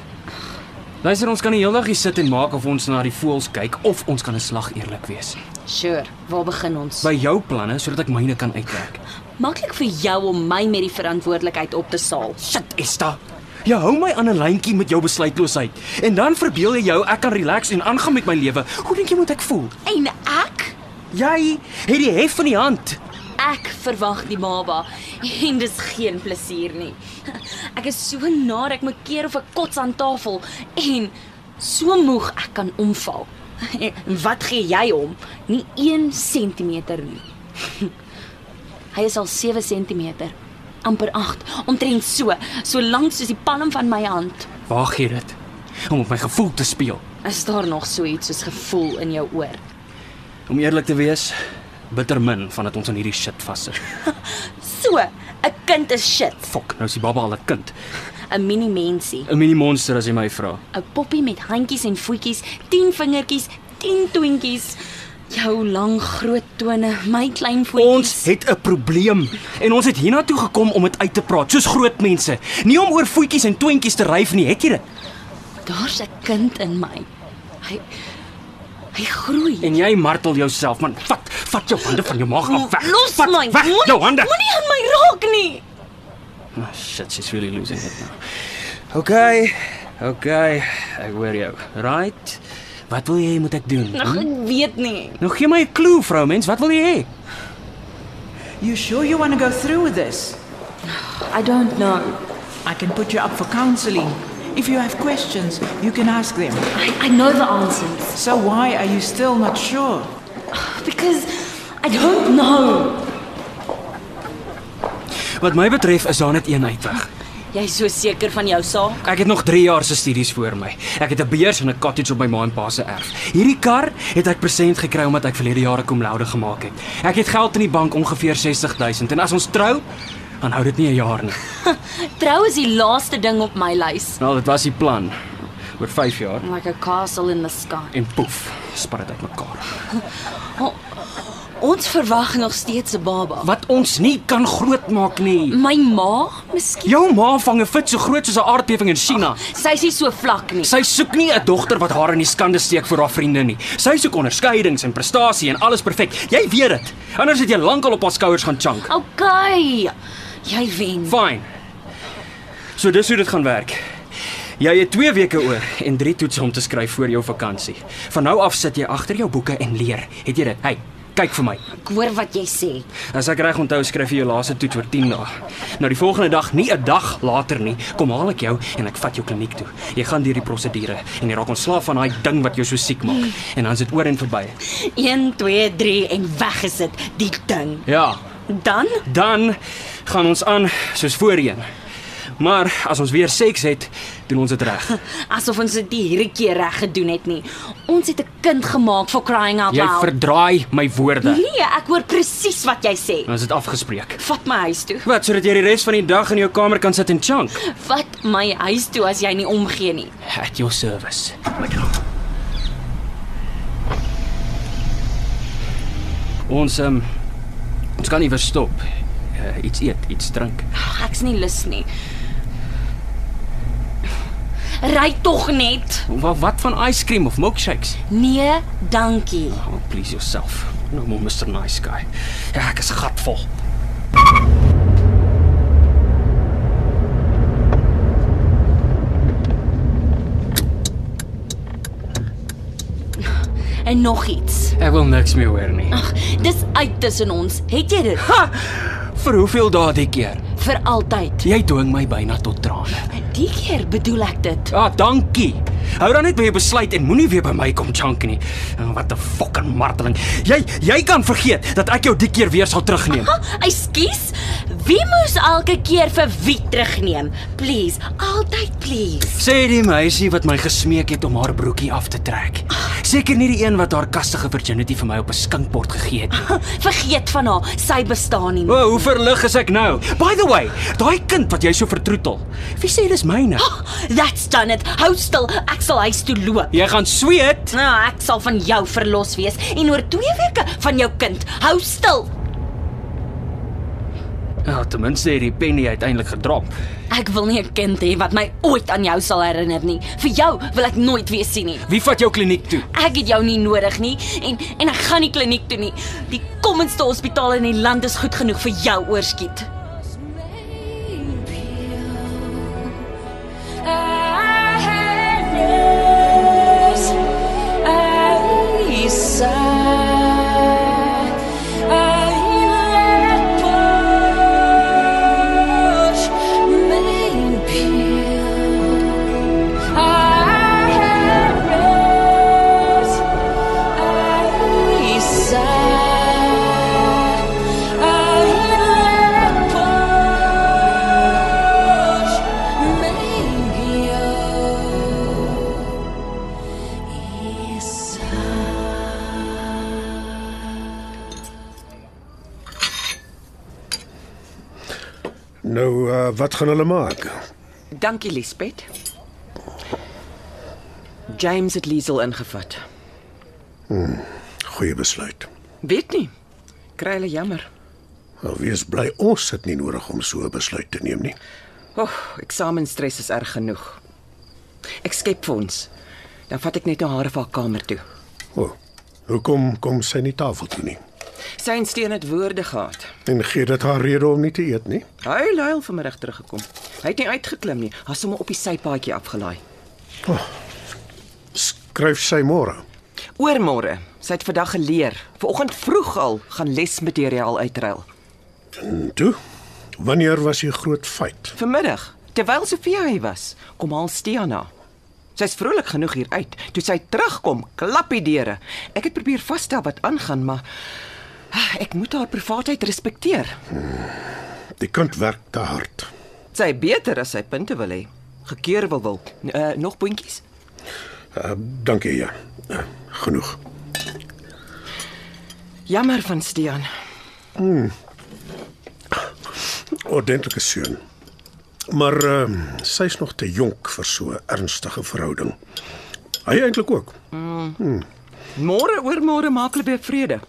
[SPEAKER 4] Luister, ons kan die hele dag hier sit en maak of ons na die voëls kyk of ons kan 'n slag eerlik wees.
[SPEAKER 3] Sure, waar begin ons?
[SPEAKER 4] By jou planne sodat ek myne kan uitwerk.
[SPEAKER 3] Maklik vir jou om my met die verantwoordelikheid op te saal.
[SPEAKER 4] Shit, Esta. Jy Ja, hou my aan 'n lyntjie met jou besluitloosheid en dan verbeel jy jou ek kan relax en aangaan met my lewe. Hoe dink jy moet ek voel?
[SPEAKER 3] En ek
[SPEAKER 4] Jy het die hef in die hand.
[SPEAKER 3] Ek verwag die baba en dis geen plesier nie. Ek is so naar ek moet keer of ek kots aan tafel en so moeg ek kan omval. En wat gee jy hom? Nie 1 sentimeter nie. Hy is al 7 sentimeter, amper 8, omtrent so, so lank soos die palm van my hand.
[SPEAKER 4] Waar gee dit? Om op my gevoel te speel.
[SPEAKER 3] Is daar nog so iets soos gevoel in jou oor?
[SPEAKER 4] Om eerlik te wees, bitter min van dat ons aan hierdie shit vassit.
[SPEAKER 3] So, 'n kind is shit,
[SPEAKER 4] Fok, nou is die baba al 'n kind.
[SPEAKER 3] 'n mini mensie.
[SPEAKER 4] 'n Mini monster as jy my vra.
[SPEAKER 3] 'n poppie met handjies en voetjies, 10 vingertjies, 10 toontjies. Jou lang groot tone, my klein
[SPEAKER 4] Ons
[SPEAKER 3] voetjies.
[SPEAKER 4] het 'n probleem en ons het hiernatoe gekom om dit uit te praat, soos groot mense. Nie om oor voetjies en toentjies te ryf nie, het jy dit?
[SPEAKER 3] Daar's 'n kind in my. Hy hy groei.
[SPEAKER 4] En jy martel jouself, man. Vat, Vat jou hande van jou maag af Oh, weg.
[SPEAKER 3] Los
[SPEAKER 4] Vat
[SPEAKER 3] my.
[SPEAKER 4] weg
[SPEAKER 3] moenie-
[SPEAKER 4] jou hande.
[SPEAKER 3] Moenie aan my raak nie.
[SPEAKER 4] Oh, shit, she's really losing it now. Okay. Okay. Ek hoor jou. Right. Wat wil jy moet ek doen?
[SPEAKER 3] Ag, ek weet nie.
[SPEAKER 4] Nou gee my 'n klou, vroumens. Wat wil jy hê?
[SPEAKER 5] You sure you want to go through with this?
[SPEAKER 3] I don't know.
[SPEAKER 5] I can put you up for counseling. If you have questions, you can ask them.
[SPEAKER 3] I I know the answers
[SPEAKER 5] So why are you still not sure?
[SPEAKER 3] because I don't know.
[SPEAKER 4] Wat my betref is daar net een uitweg.
[SPEAKER 3] Jy's so seker van jou saak.
[SPEAKER 4] Ek het nog 3 jaar se studies voor my. Ek het 'n beurs en 'n cottage op my ma en pa se erf. Hierdie kar het ek persent gekry omdat ek verlede jare kom loude gemaak het. Ek het geld in die bank ongeveer 60000 en as ons trou, dan hou dit nie 'n jaar nie.
[SPEAKER 3] Trou is die laaste ding op my lys.
[SPEAKER 4] Nou, dit was die plan. Oor 5 jaar
[SPEAKER 3] Like a castle in the sky.
[SPEAKER 4] en poef, spat dit uitmekaar.
[SPEAKER 3] Ons verwag nog steeds 'n baba.
[SPEAKER 4] Wat ons nie kan grootmaak nie.
[SPEAKER 3] My ma, miskien.
[SPEAKER 4] Jou ma vang 'n vis so groot soos 'n aardbewing in China.
[SPEAKER 3] Sy's nie so vlak nie.
[SPEAKER 4] Sy soek nie 'n dogter wat haar in die skande steek vir haar vriende nie. Sy soek onderskeidings en prestasie en alles perfek. Jy weet dit. Anders het jy lankal op haar skouers gaan chunk.
[SPEAKER 3] Okay. Jy wen.
[SPEAKER 4] Fine. So dis hoe dit gaan werk. Jy het 2 weke oor en 3 toetse om te skryf voor jou vakansie. Van nou af sit jy agter jou boeke en leer. Het jy dit? Hey, kyk vir my.
[SPEAKER 3] Ek hoor wat jy sê.
[SPEAKER 4] As ek reg onthou, skryf jy jou laaste toets oor 10 dae. Nou die volgende dag, nie 'n dag later nie, kom haal ek jou en ek vat jou kliniek toe. Jy gaan deur die prosedure en jy raak ontslaaf van daai ding wat jou so siek maak. En dan is dit oor en verby.
[SPEAKER 3] 1 2 3 en weg is dit, die ding.
[SPEAKER 4] Ja,
[SPEAKER 3] Dan
[SPEAKER 4] dan gaan ons aan soos voorheen. Maar as ons weer seks het, doen ons dit reg.
[SPEAKER 3] asof ons dit nie hierdie keer reg gedoen het nie. Ons het 'n kind gemaak for crying out
[SPEAKER 4] Jy
[SPEAKER 3] loud.
[SPEAKER 4] verdraai my woorde.
[SPEAKER 3] Nee, ek hoor presies wat jy sê.
[SPEAKER 4] Ons het afgespreek.
[SPEAKER 3] Vat my huis toe.
[SPEAKER 4] Wat sodat jy die res van die dag in jou kamer kan sit en chunk.
[SPEAKER 3] Vat my huis toe as jy nie omgee nie.
[SPEAKER 4] At your service. Ons ehm um, ons kan nie verstop. Uh, iets eet, iets drink.
[SPEAKER 3] Ag, ek's nie lus nie. Ry tog net.
[SPEAKER 4] Wat wat van ijskream of milkshakes?
[SPEAKER 3] Nee, dankie.
[SPEAKER 4] Oh, please yourself. No more Mr. Nice Guy. Ja, ek is gatvol.
[SPEAKER 3] En nog iets.
[SPEAKER 4] Ek wil niks meer hoor nie.
[SPEAKER 3] Ag, dis uit tussen ons. Het jy dit
[SPEAKER 4] Ha! Vir hoeveel dae die keer?
[SPEAKER 3] vir altyd?
[SPEAKER 4] Jy dwing my byna tot trane.
[SPEAKER 3] Die keer bedoel ek dit.
[SPEAKER 4] Ja, dankie. Hou dan net by jou besluit en moenie weer by my kom chunk nie. Oh, Wat 'n fucking marteling. Jy jy kan vergeet dat ek jou die keer weer sal terugneem.
[SPEAKER 3] Ekskuus. Wie moes elke keer vir wie terugneem? Please, altyd please.
[SPEAKER 4] Sê die meisie wat my gesmeek het om haar broekie af te trek. Seker nie die een wat haar kastige virginity vir my op 'n skinkbord gegee het nie.
[SPEAKER 3] Vergeet van haar. Sy bestaan nie.
[SPEAKER 4] O, oh, hoe verlig is ek nou? By the way, daai kind wat jy so vertroetel. Wie sê dis myne?
[SPEAKER 3] That's done it. Hou stil. Ek sal huis toe loop.
[SPEAKER 4] Jy gaan sweet.
[SPEAKER 3] Nou, ek sal van jou verlos wees en oor 2 weke van jou kind. Hou stil.
[SPEAKER 4] Ja, ten minste het die penny uiteindelik gedrop.
[SPEAKER 3] Ek wil nie 'n kind hê wat my ooit aan jou sal herinner nie. Vir jou wil ek nooit weer sien nie.
[SPEAKER 4] Wie vat jou kliniek toe?
[SPEAKER 3] Ek het jou nie nodig nie en en ek gaan nie kliniek toe nie. Die kommenste hospitaal in die land is goed genoeg vir jou oorskiet.
[SPEAKER 8] Nou uh, wat gaan hulle maak?
[SPEAKER 6] Dankie Liesbeth. James het Liesel ingevat.
[SPEAKER 8] Goeie besluit.
[SPEAKER 6] Weet nie. Kry hulle jammer.
[SPEAKER 8] Nou wees bly ons sit nie nodig om so 'n besluit te neem nie.
[SPEAKER 6] O, oh, eksamenstres is erg genoeg. Ek skep vir ons. Dan vat ek net nou haar van haar kamer toe.
[SPEAKER 8] O. Oh, hoekom kom sy nie tafel toe nie?
[SPEAKER 6] Sy en Steen het woorde gehad.
[SPEAKER 8] En gee dit haar rede om nie te eet nie.
[SPEAKER 6] Hy luil vanmiddag teruggekom. Hy het nie uitgeklim nie. Haar sommer op die sypaadjie afgelaai.
[SPEAKER 8] Skryf sy môre.
[SPEAKER 6] Oormôre. Sy het vandag geleer. Vanoggend vroeg al gaan lesmateriaal uitruil.
[SPEAKER 8] En toe, wanneer was die groot feit?
[SPEAKER 6] Vanmiddag, terwyl Sofia hy was, kom haal Stiana. Sy's vrolik genoeg hier uit. Toe sy terugkom, klap die deure. Ek het probeer vasstel wat aangaan, maar ah, ek moet haar privaatheid respekteer.
[SPEAKER 8] Die kind werk te hard.
[SPEAKER 6] Sy beter as sy punte wil hê. Gekeer wil wil. Uh, nog boontjies?
[SPEAKER 8] Uh, dankie ja. Uh, genoeg.
[SPEAKER 6] Jammer van Stian.
[SPEAKER 8] Ordentlike seun. Maar uh, sy's nog te jonk vir so 'n ernstige verhouding. Hy eintlik ook.
[SPEAKER 6] Môre oormôre maak hulle weer vrede.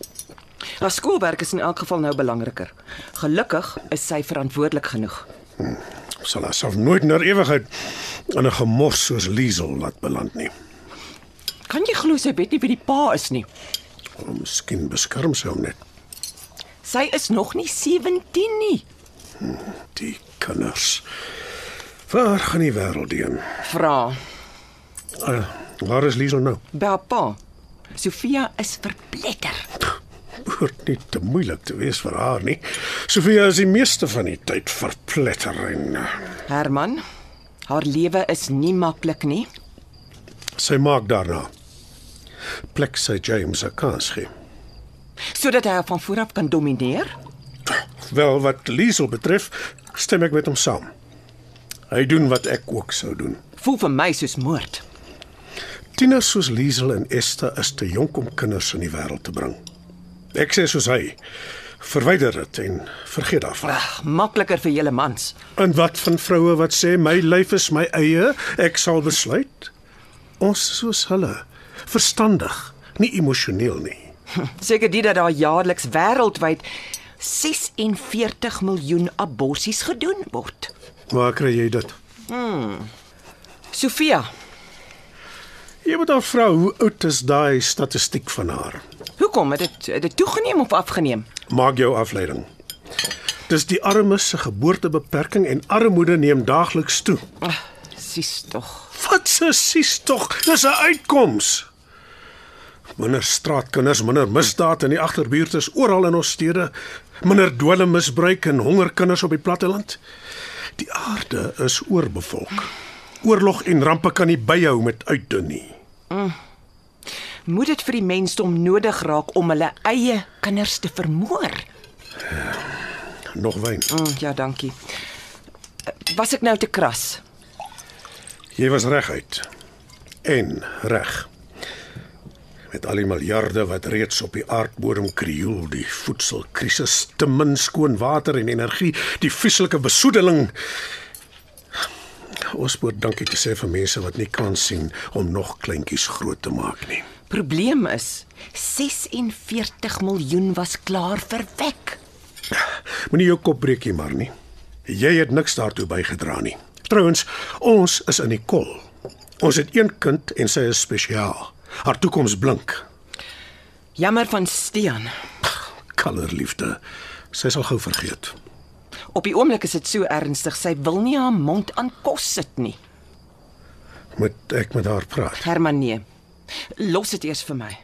[SPEAKER 6] Haar skoolwerk is in elk geval nou belangriker. Gelukkig is sy verantwoordelik genoeg.
[SPEAKER 8] Sal haarself nooit na ewigheid in 'n gemors soos Liesel laat beland nie.
[SPEAKER 6] Kan jy glo sy weet nie wie die pa is nie?
[SPEAKER 8] Of Miskien beskerm sy hom net
[SPEAKER 6] Sy is nog nie 17 nie.
[SPEAKER 8] die kinders. Waar gaan die wêreld heen?
[SPEAKER 6] Vra.
[SPEAKER 8] Uh, waar is Liesel nou?
[SPEAKER 6] Bappa. Sofia is verpletter.
[SPEAKER 8] Hoort nie te moeilik te wees vir haar nie. Sofia is die meeste van die tyd verpletter en uh,
[SPEAKER 6] Herman, haar lewe is nie maklik nie.
[SPEAKER 8] sy maak daarna. Plek sy James 'n kans gee.
[SPEAKER 6] Sodat hy haar van vooraf kan domineer?
[SPEAKER 8] Wel wat Liesel betref, stem ek met hom saam. Hy doen wat ek ook sou doen.
[SPEAKER 6] Voel vir my soos moord.
[SPEAKER 8] Tieners soos Liesel en Esther is te jonk om kinders in die wêreld te bring. Ek sê soos hy, verwyder dit en vergeet daarvan.
[SPEAKER 6] Ag, makliker vir julle mans.
[SPEAKER 8] En wat van vroue wat sê my lyf is my eie, ek sal besluit? Ons is soos hulle, verstandig, nie emosioneel nie.
[SPEAKER 6] Seker dit dat daar jaarliks wêreldwyd 46 miljoen aborsies gedoen word.
[SPEAKER 8] Waar kry jy dit?
[SPEAKER 6] Sofia,
[SPEAKER 8] Jy moet haar vra hoe oud is daai statistiek van haar?
[SPEAKER 6] hoekom het dit het dit toegeneem of afgeneem?
[SPEAKER 8] Maak jou afleiding. Dis die armes se geboortebeperking en armoede neem daagliks toe.
[SPEAKER 6] Ag, sies tog.
[SPEAKER 8] Wat sies tog, dis 'n uitkoms. Minder straatkinders, minder misdaad in die agterbuurte is oral in ons stede, minder dwelmmisbruik en hongerkinders op die platteland. Die aarde is oorbevolk. Oorlog en rampe kan nie byhou met uitdun nie.
[SPEAKER 6] Moet dit vir die mensdom nodig raak om hulle eie kinders te vermoor?
[SPEAKER 8] Nog wyn.
[SPEAKER 6] Mm, ja, dankie. Was ek nou te kras?
[SPEAKER 8] Jy was reguit. En reg. Met al die miljarde wat reeds op die aardbodem krioel, die voedselkrisis, te min skoon water en energie, die vieslike besoedeling. Ons moet dankie te sê vir mense wat nie kan sien om nog kleintjies groot te maak nie.
[SPEAKER 6] Probleem is 46 miljoen was klaar verwek.
[SPEAKER 8] Moenie jou kop breek hier maar nie. Jy het niks daartoe bygedra nie. Trouwens, ons is in die kol. Ons het een kind en sy is spesiaal. Haar toekoms blink.
[SPEAKER 6] Jammer van Steen.
[SPEAKER 8] Kallerliefde. Sy sal gou vergeet.
[SPEAKER 6] Op die oomblik is dit so ernstig, sy wil nie haar mond aan kos sit nie.
[SPEAKER 8] Moet ek met haar praat?
[SPEAKER 6] Herman nee. Los dit eers vir my.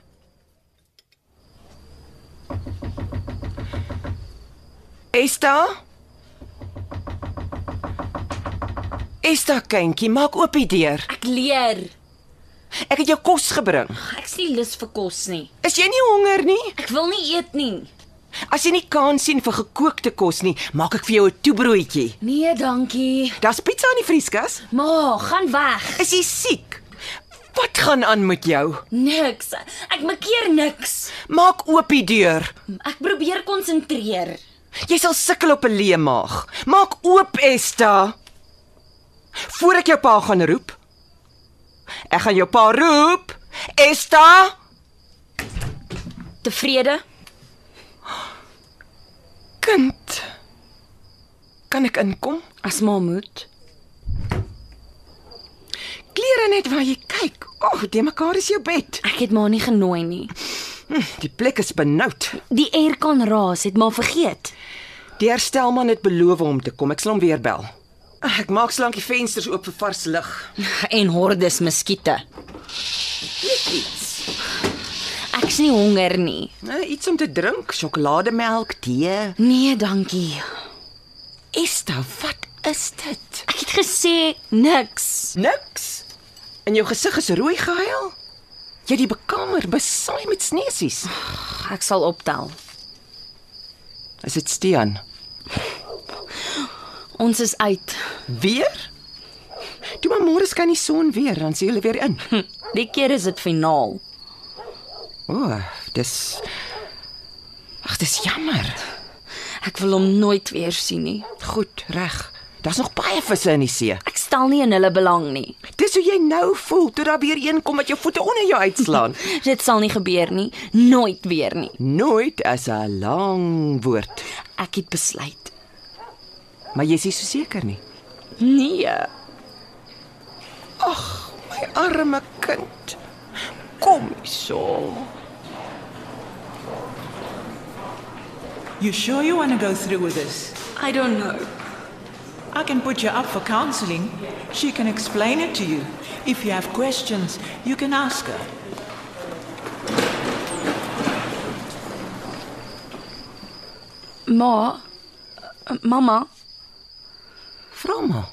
[SPEAKER 6] Esta? Esta kindjie, maak oop die deur.
[SPEAKER 3] Ek leer.
[SPEAKER 6] Ek het jou kos gebring.
[SPEAKER 3] Ek is nie lus vir kos nie.
[SPEAKER 6] Is jy nie honger nie?
[SPEAKER 3] Ek wil nie eet nie.
[SPEAKER 6] As jy nie kan sien vir gekookte kos nie, maak ek vir jou 'n toebroodjie.
[SPEAKER 3] Nee, dankie.
[SPEAKER 6] Daar's pizza in die vrieskas.
[SPEAKER 3] Ma, gaan weg.
[SPEAKER 6] Is jy siek? Wat gaan aan met jou?
[SPEAKER 3] Niks. Ek maak keer niks.
[SPEAKER 6] Maak oop die deur.
[SPEAKER 3] Ek probeer konsentreer.
[SPEAKER 6] Jy sal sukkel op 'n leë maag. Maak oop, Esta. Voor ek jou pa gaan roep. Ek gaan jou pa roep. Esta,
[SPEAKER 3] Tevrede?
[SPEAKER 6] kind. Kan ek inkom?
[SPEAKER 3] As ma moet.
[SPEAKER 6] Klere net waar jy kyk. O, oh, de mekaar is jou bed.
[SPEAKER 3] Ek het ma nie genooi nie.
[SPEAKER 6] Die plek is benoud.
[SPEAKER 3] Die air kan raas, het maar vergeet.
[SPEAKER 6] Die herstelman het beloof om te kom. Ek sal hom weer bel. Ag, Ek maak slank die vensters oop vir vars lug.
[SPEAKER 3] En hordes muskiete. Ek's nie honger nie.
[SPEAKER 6] Nou, iets om te drink, sjokolademelk, tee.
[SPEAKER 3] Nee, dankie.
[SPEAKER 6] Esther, wat is dit?
[SPEAKER 3] Ek het gesê niks.
[SPEAKER 6] Niks. In jou gesig is rooi gehuil. Jy het die bekamer besaai met sneesies.
[SPEAKER 3] Ek sal optel.
[SPEAKER 6] Is dit Stean?
[SPEAKER 3] Ons is uit.
[SPEAKER 6] Weer? Toe maar môre skyn die son weer, dan sien hulle weer in.
[SPEAKER 3] Die keer is dit finaal.
[SPEAKER 6] O, oh, dis Ag, dis jammer.
[SPEAKER 3] Ek wil hom nooit weer sien nie.
[SPEAKER 6] Goed, reg. Daar's nog baie visse in die see.
[SPEAKER 3] Ek stel nie in hulle belang nie.
[SPEAKER 6] Dis hoe jy nou voel toe daar weer een kom wat jou voete onder jou uitslaan.
[SPEAKER 3] Dit sal nie gebeur nie, nooit weer nie.
[SPEAKER 6] Nooit is 'n lang woord,
[SPEAKER 3] Ek het besluit.
[SPEAKER 6] maar jy's nie so seker nie.
[SPEAKER 3] Nee.
[SPEAKER 6] My arme kind. Kom hierso.
[SPEAKER 5] You sure you want to go through with this?
[SPEAKER 3] I don't know.
[SPEAKER 5] I can put you up for counseling. She can explain it to you. If you have questions, you can ask her.
[SPEAKER 3] Ma, uh, mamma,
[SPEAKER 6] Vra maar.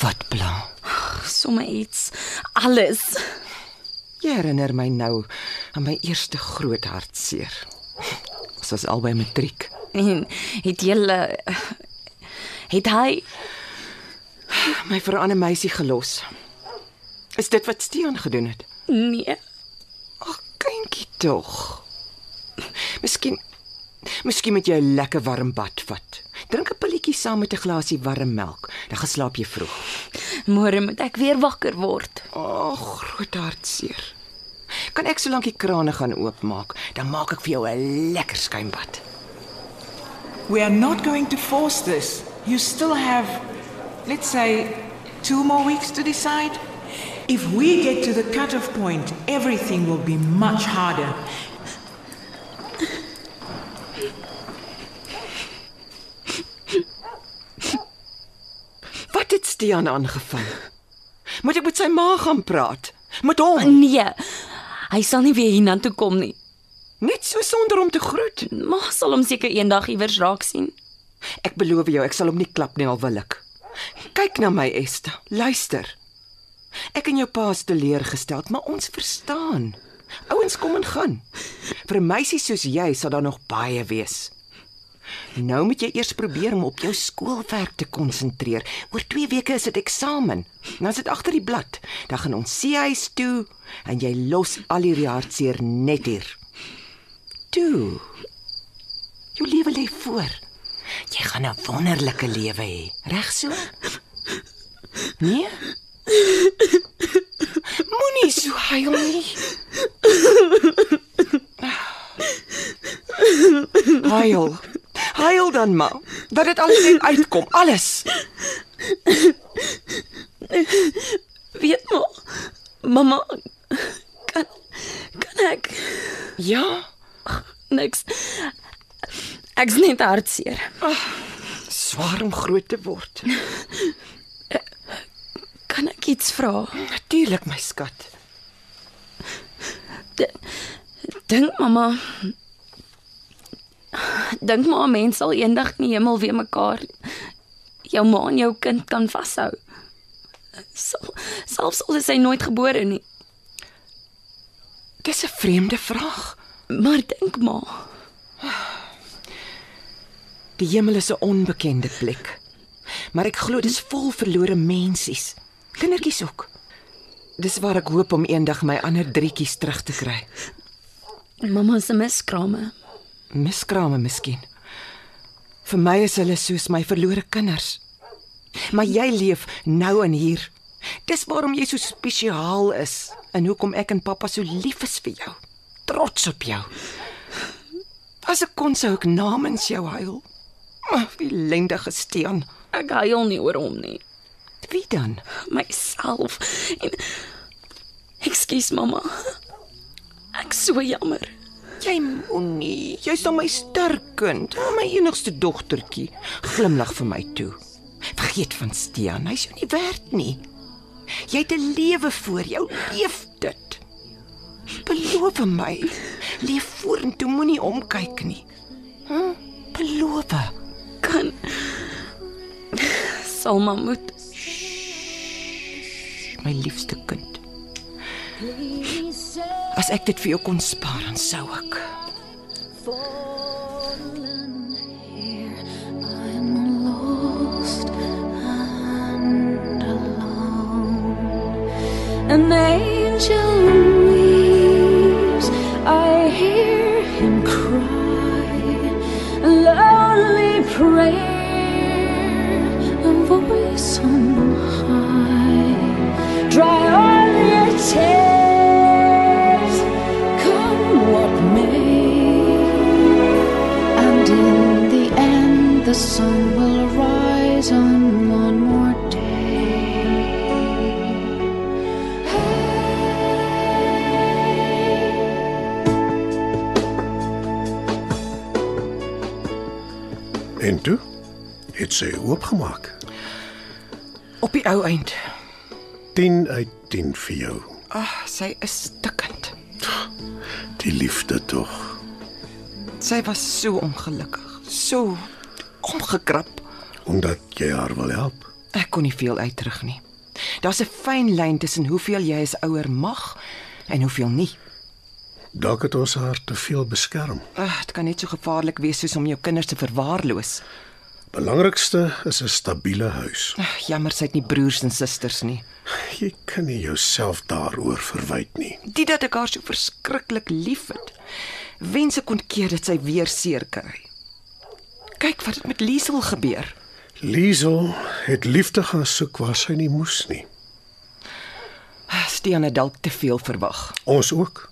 [SPEAKER 6] Wat plan?
[SPEAKER 3] somme iets. Alles.
[SPEAKER 6] Jy herinner my nou aan my eerste groot hartseer. Ons was albei matriek.
[SPEAKER 3] En het julle het hy
[SPEAKER 6] My vir 'n ander meisie gelos. Is dit wat Stean gedoen het?
[SPEAKER 3] nee.
[SPEAKER 6] Ag, kindjie tog. Miskien Miskien moet jy 'n lekker warm bad vat. Drink 'n pilletjie saam met 'n glasie warm melk, dan geslaap jy vroeg.
[SPEAKER 3] Môre moet ek weer wakker word.
[SPEAKER 6] Ag, groot hartseer. Kan ek solank die krane gaan oopmaak, dan maak ek vir jou 'n lekker skuimbad.
[SPEAKER 5] We are not going to force this. You still have, let's say, two more weeks to decide. If we get to the cutoff point, everything will be much harder.
[SPEAKER 6] Wat het Stean aangevang? Moet ek met sy ma gaan praat? Met hom,
[SPEAKER 3] Nee. Hy sal nie weer hiernatoe kom nie.
[SPEAKER 6] net so sonder om te groet.
[SPEAKER 3] Ma sal hom seker eendag iewers raak sien.
[SPEAKER 6] Ek beloof jou, ek sal hom nie klap nie al wil ek. Kyk na my, Esther. Luister. Ek en jou pa is teleurgesteld, maar ons verstaan. Ouens kom en gaan. Vir 'n meisie soos jy sal daar nog baie wees. Nou moet jy eers probeer om op jou skoolwerk te konsentreer. Oor 2 weke is dit eksamen. Dan is dit agter die blad. Dan gaan ons seehuis toe en jy los al hierdie hartseer net hier. Toe. Jou lewe lê voor. Jy gaan 'n wonderlike lewe hê, reg so? Nee. Moenie so huil nie. Huil. Huil dan maar. Dat dit alles net uitkom, alles.
[SPEAKER 3] Weet ma, mamma kan kan ek
[SPEAKER 6] Ja,
[SPEAKER 3] niks. Ek's net hartseer.
[SPEAKER 6] swaar om groot te word.
[SPEAKER 3] Kan ek iets vra?
[SPEAKER 6] Natuurlik, my skat.
[SPEAKER 3] Dink mamma Dink maar mense sal eendag in die hemel weer mekaar jou ma en jou kind kan vashou. Sal, selfs al is hy nooit gebore nie.
[SPEAKER 6] Dis 'n vreemde vraag.
[SPEAKER 3] Maar dink maar.
[SPEAKER 6] Die hemel is 'n onbekende plek. Maar ek glo dis vol verlore mensies. Kindertjies ook. Dis waar ek hoop om eendag my ander drietjies terug te kry.
[SPEAKER 3] Mamma se miskrame.
[SPEAKER 6] Miskrame miskien. Vir my is hulle soos my verlore kinders. Maar jy leef nou en hier. Dis waarom jy so spesiaal is en hoekom ek en pappa so lief is vir jou. Trots op jou. As ek kon sou ek namens jou huil. Maar wie lendige steen.
[SPEAKER 3] Ek huil nie oor hom nie.
[SPEAKER 6] Wie dan?
[SPEAKER 3] Myself. En Ekskuus mamma. Ek so jammer.
[SPEAKER 6] Jy moenie, jy's nou my sterk kind, my enigste dogtertjie. Glimlag vir my toe. Vergeet van Stean, hy's jou nie werd nie. Jy het 'n lewe voor jou, leef dit. Beloof my, leef vorentoe, moenie omkyk nie. Hm? Beloof.
[SPEAKER 3] Kan sal maar moet.
[SPEAKER 6] my liefste kind. As ek dit vir jou kon spaar, dan sou ek.
[SPEAKER 2] I'm lost and alone. An angel weeps. I hear him cry. A lonely prayer. A voice on high. Dry all your tears. Come what may. And in the end, the sun will rise on one more day.
[SPEAKER 8] En toe het sy oopgemaak.
[SPEAKER 6] Op die ou eind.
[SPEAKER 8] 10 uit 10 vir jou.
[SPEAKER 6] Ag, Ah, sy is stikkend.
[SPEAKER 8] Die liefde tog.
[SPEAKER 6] Sy was so ongelukkig, so omgekrap.
[SPEAKER 8] Omdat jy haar wil help.
[SPEAKER 6] Ek kon nie veel uitrig nie. Daar's 'n fyn lyn tussen hoeveel jy as ouer mag en hoeveel nie.
[SPEAKER 8] Dalk het ons haar te veel beskerm.
[SPEAKER 6] Ag, dit kan net so gevaarlik wees soos om jou kinders te verwaarloos.
[SPEAKER 8] Belangrikste is 'n stabiele huis.
[SPEAKER 6] Ag, jammer sy het nie broers en susters nie.
[SPEAKER 8] Jy kan nie jouself daaroor verwyd nie.
[SPEAKER 6] Dit dat ek haar so verskriklik liefhet. Wens ek kon keer dat sy weer seer kry. Kyk wat het met Liesel gebeur.
[SPEAKER 8] Liesel het liefde gaan soek waar sy nie moes nie.
[SPEAKER 6] Ag, Stean het dalk te veel verwag.
[SPEAKER 8] Ons ook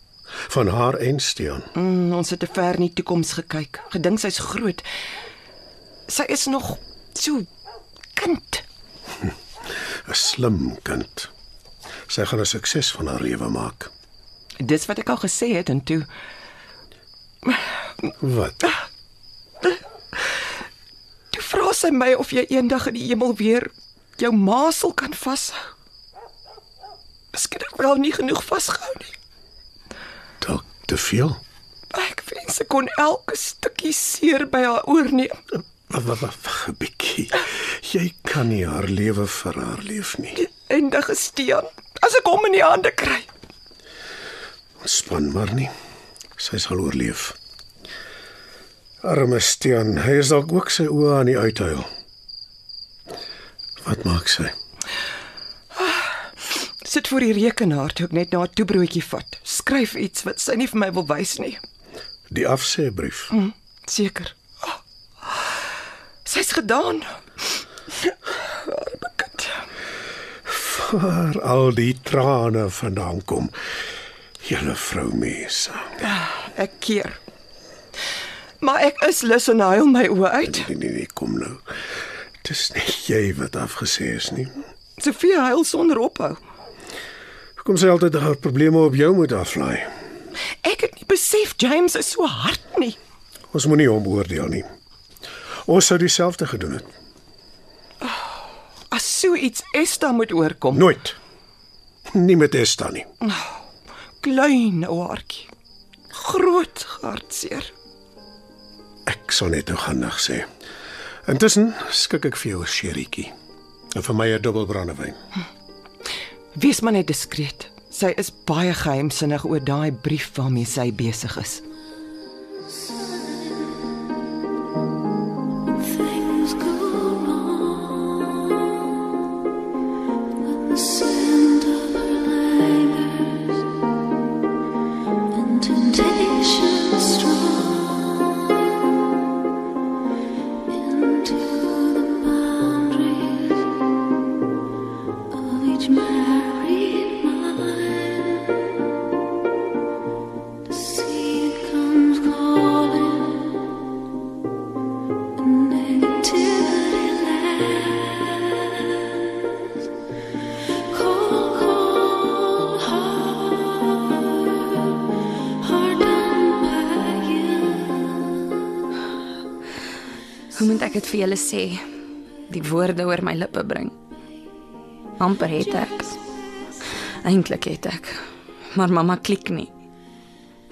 [SPEAKER 8] van haar en Stean.
[SPEAKER 6] Mm, ons het te ver in die toekoms gekyk. Gedink sy's groot. Sy is nog so kind.
[SPEAKER 8] 'n Slim kind. Sy gaan 'n sukses van haar lewe maak.
[SPEAKER 6] Dis wat ek al gesê het en toe
[SPEAKER 8] Wat?
[SPEAKER 6] toe vra sy my of jy eendag in die hemel weer jou ma sal kan vashou. Miskien het ek wel nie genoeg vasgehou nie.
[SPEAKER 8] Dalk te veel.
[SPEAKER 6] Ek wens ek kon elke stukkie seer by haar oorneem.
[SPEAKER 8] Wag, wag, wag, bietjie. Jy kan nie haar lewe vir haar leef nie.
[SPEAKER 6] Eindige steen. As ek hom in die hande kry.
[SPEAKER 8] Ontspan maar nie. Sy sal oorleef. Arme Stean, hy is dalk ook sy oë aan die uithuil. Wat maak sy?
[SPEAKER 6] Sit voor die rekenaar toe ek net na 'n toebroodjie vat. Skryf iets wat sy nie vir my wil wys nie.
[SPEAKER 8] Die afseebrief.
[SPEAKER 6] Hm, Seker. Ah. Sy's gedaan. Arme kind.
[SPEAKER 8] Waar al die trane vandaan kom. Julle vroumense.
[SPEAKER 6] Ek keer. Maar ek is lus en huil my oë uit.
[SPEAKER 8] Nee nee nee, kom nou. Dis nie jy wat afgesê is nie.
[SPEAKER 6] Sofie huil sonder ophou.
[SPEAKER 8] Hoekom sy altyd haar probleme op jou moet aflaai?
[SPEAKER 6] Ek het nie besef James is so hard nie.
[SPEAKER 8] Ons moenie hom oordeel nie. Ons sou dieselfde gedoen het.
[SPEAKER 6] As so iets Esta moet oorkom.
[SPEAKER 8] Nooit. Nie met Esta nie.
[SPEAKER 6] Klein ou hartjie. Groot hartseer.
[SPEAKER 8] Ek sal net nou gaan nag sê. Intussen skik ek vir jou 'n sherrytjie en vir my 'n dubbel brandewyn.
[SPEAKER 6] Wees maar net diskreet. Sy is baie geheimsinnig oor daai brief waarmee sy besig is.
[SPEAKER 2] Things go wrong with the scent of her languors and temptation strong into the boundaries of each married mind to see it
[SPEAKER 7] ek dit vir julle sê, die woorde oor my lippe bring. amper het ek. Eintlik het ek, maar mamma klik nie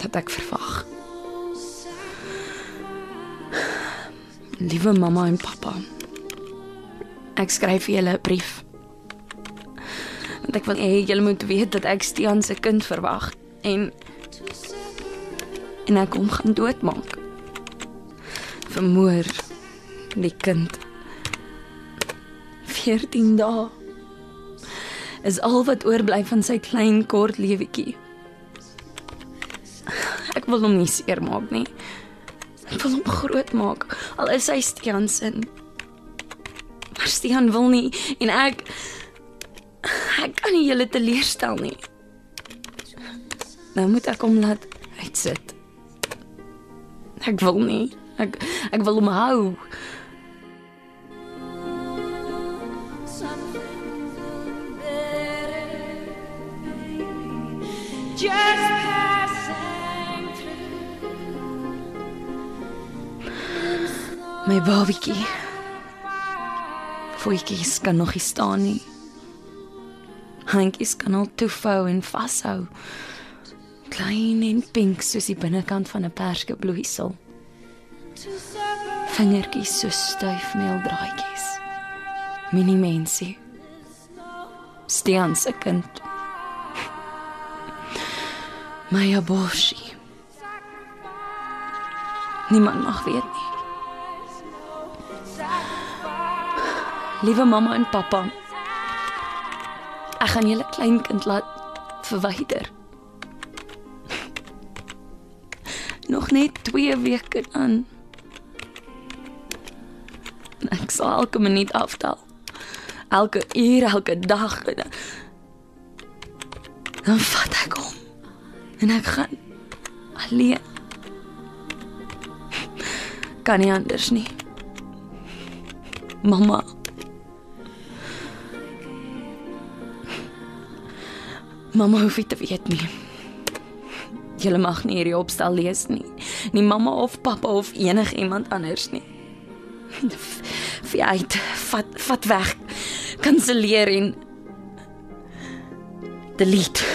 [SPEAKER 7] dat ek verwag. Liewe mamma en pappa. Ek skryf vir julle 'n brief. Want ek wil hê julle moet weet dat ek Stean se kind verwag en en ek hom gaan doodmaak. Vermoor die kind. 14 dae is al wat oorbly van sy klein kort lewetjie. Ek wil hom nie seermaak nie. Ek wil hom groot maak al is hy Stean se. Maar Stean wil nie en ek ek kan nie julle teleurstel nie. Nou moet ek hom laat uitsit. Ek wil nie. Ek ek wil hom hou. My babatjie. Voetjies kan nog nie staan nie. Handjies kan al toevou en vashou. Klein en pink soos die binnekant van 'n perskebloeisel. Vingertjies so styf meeldraadjies. Mini mensie. Stean se kind. My aborsie. Niemand mag weet nie. Liewe mamma en pappa. Ek gaan julle kleinkind laat verwyder. Nog net 2 weke aan. En Ek sal elke minuut aftel. Elke uur, elke dag. en dan- Dan vat ek hom. En ek gaan alleen. Kan nie anders nie. Mamma. Mamma hoef nie te weet nie. Julle mag nie hierdie opstel lees nie. Nie mamma of pappa of enigiemand anders nie. Vy uit, vat vat weg. Kanselleer en delete.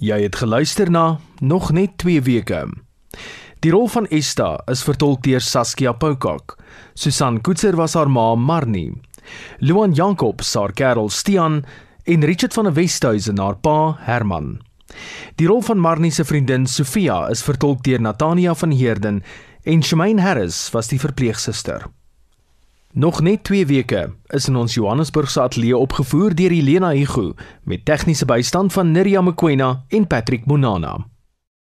[SPEAKER 1] Jy het geluister na nog net 2 weke. Die rol van Esta is vertolk deur Saskia Poukak. Susan Koetser was haar ma Marnie. Luan Jakob, Sar Karel Stean en Richard van der Westhuizen haar pa Herman. Die rol van Marnie se vriendin Sofia is vertolk deur Natania van Heerden en Shamaine Harris was die verpleegsuster. Nog net 2 weke is in ons Johannesburgse ateljee opgevoer deur Elena Igu met tegniese bystand van Nirya Mkwena en Patrick Monana.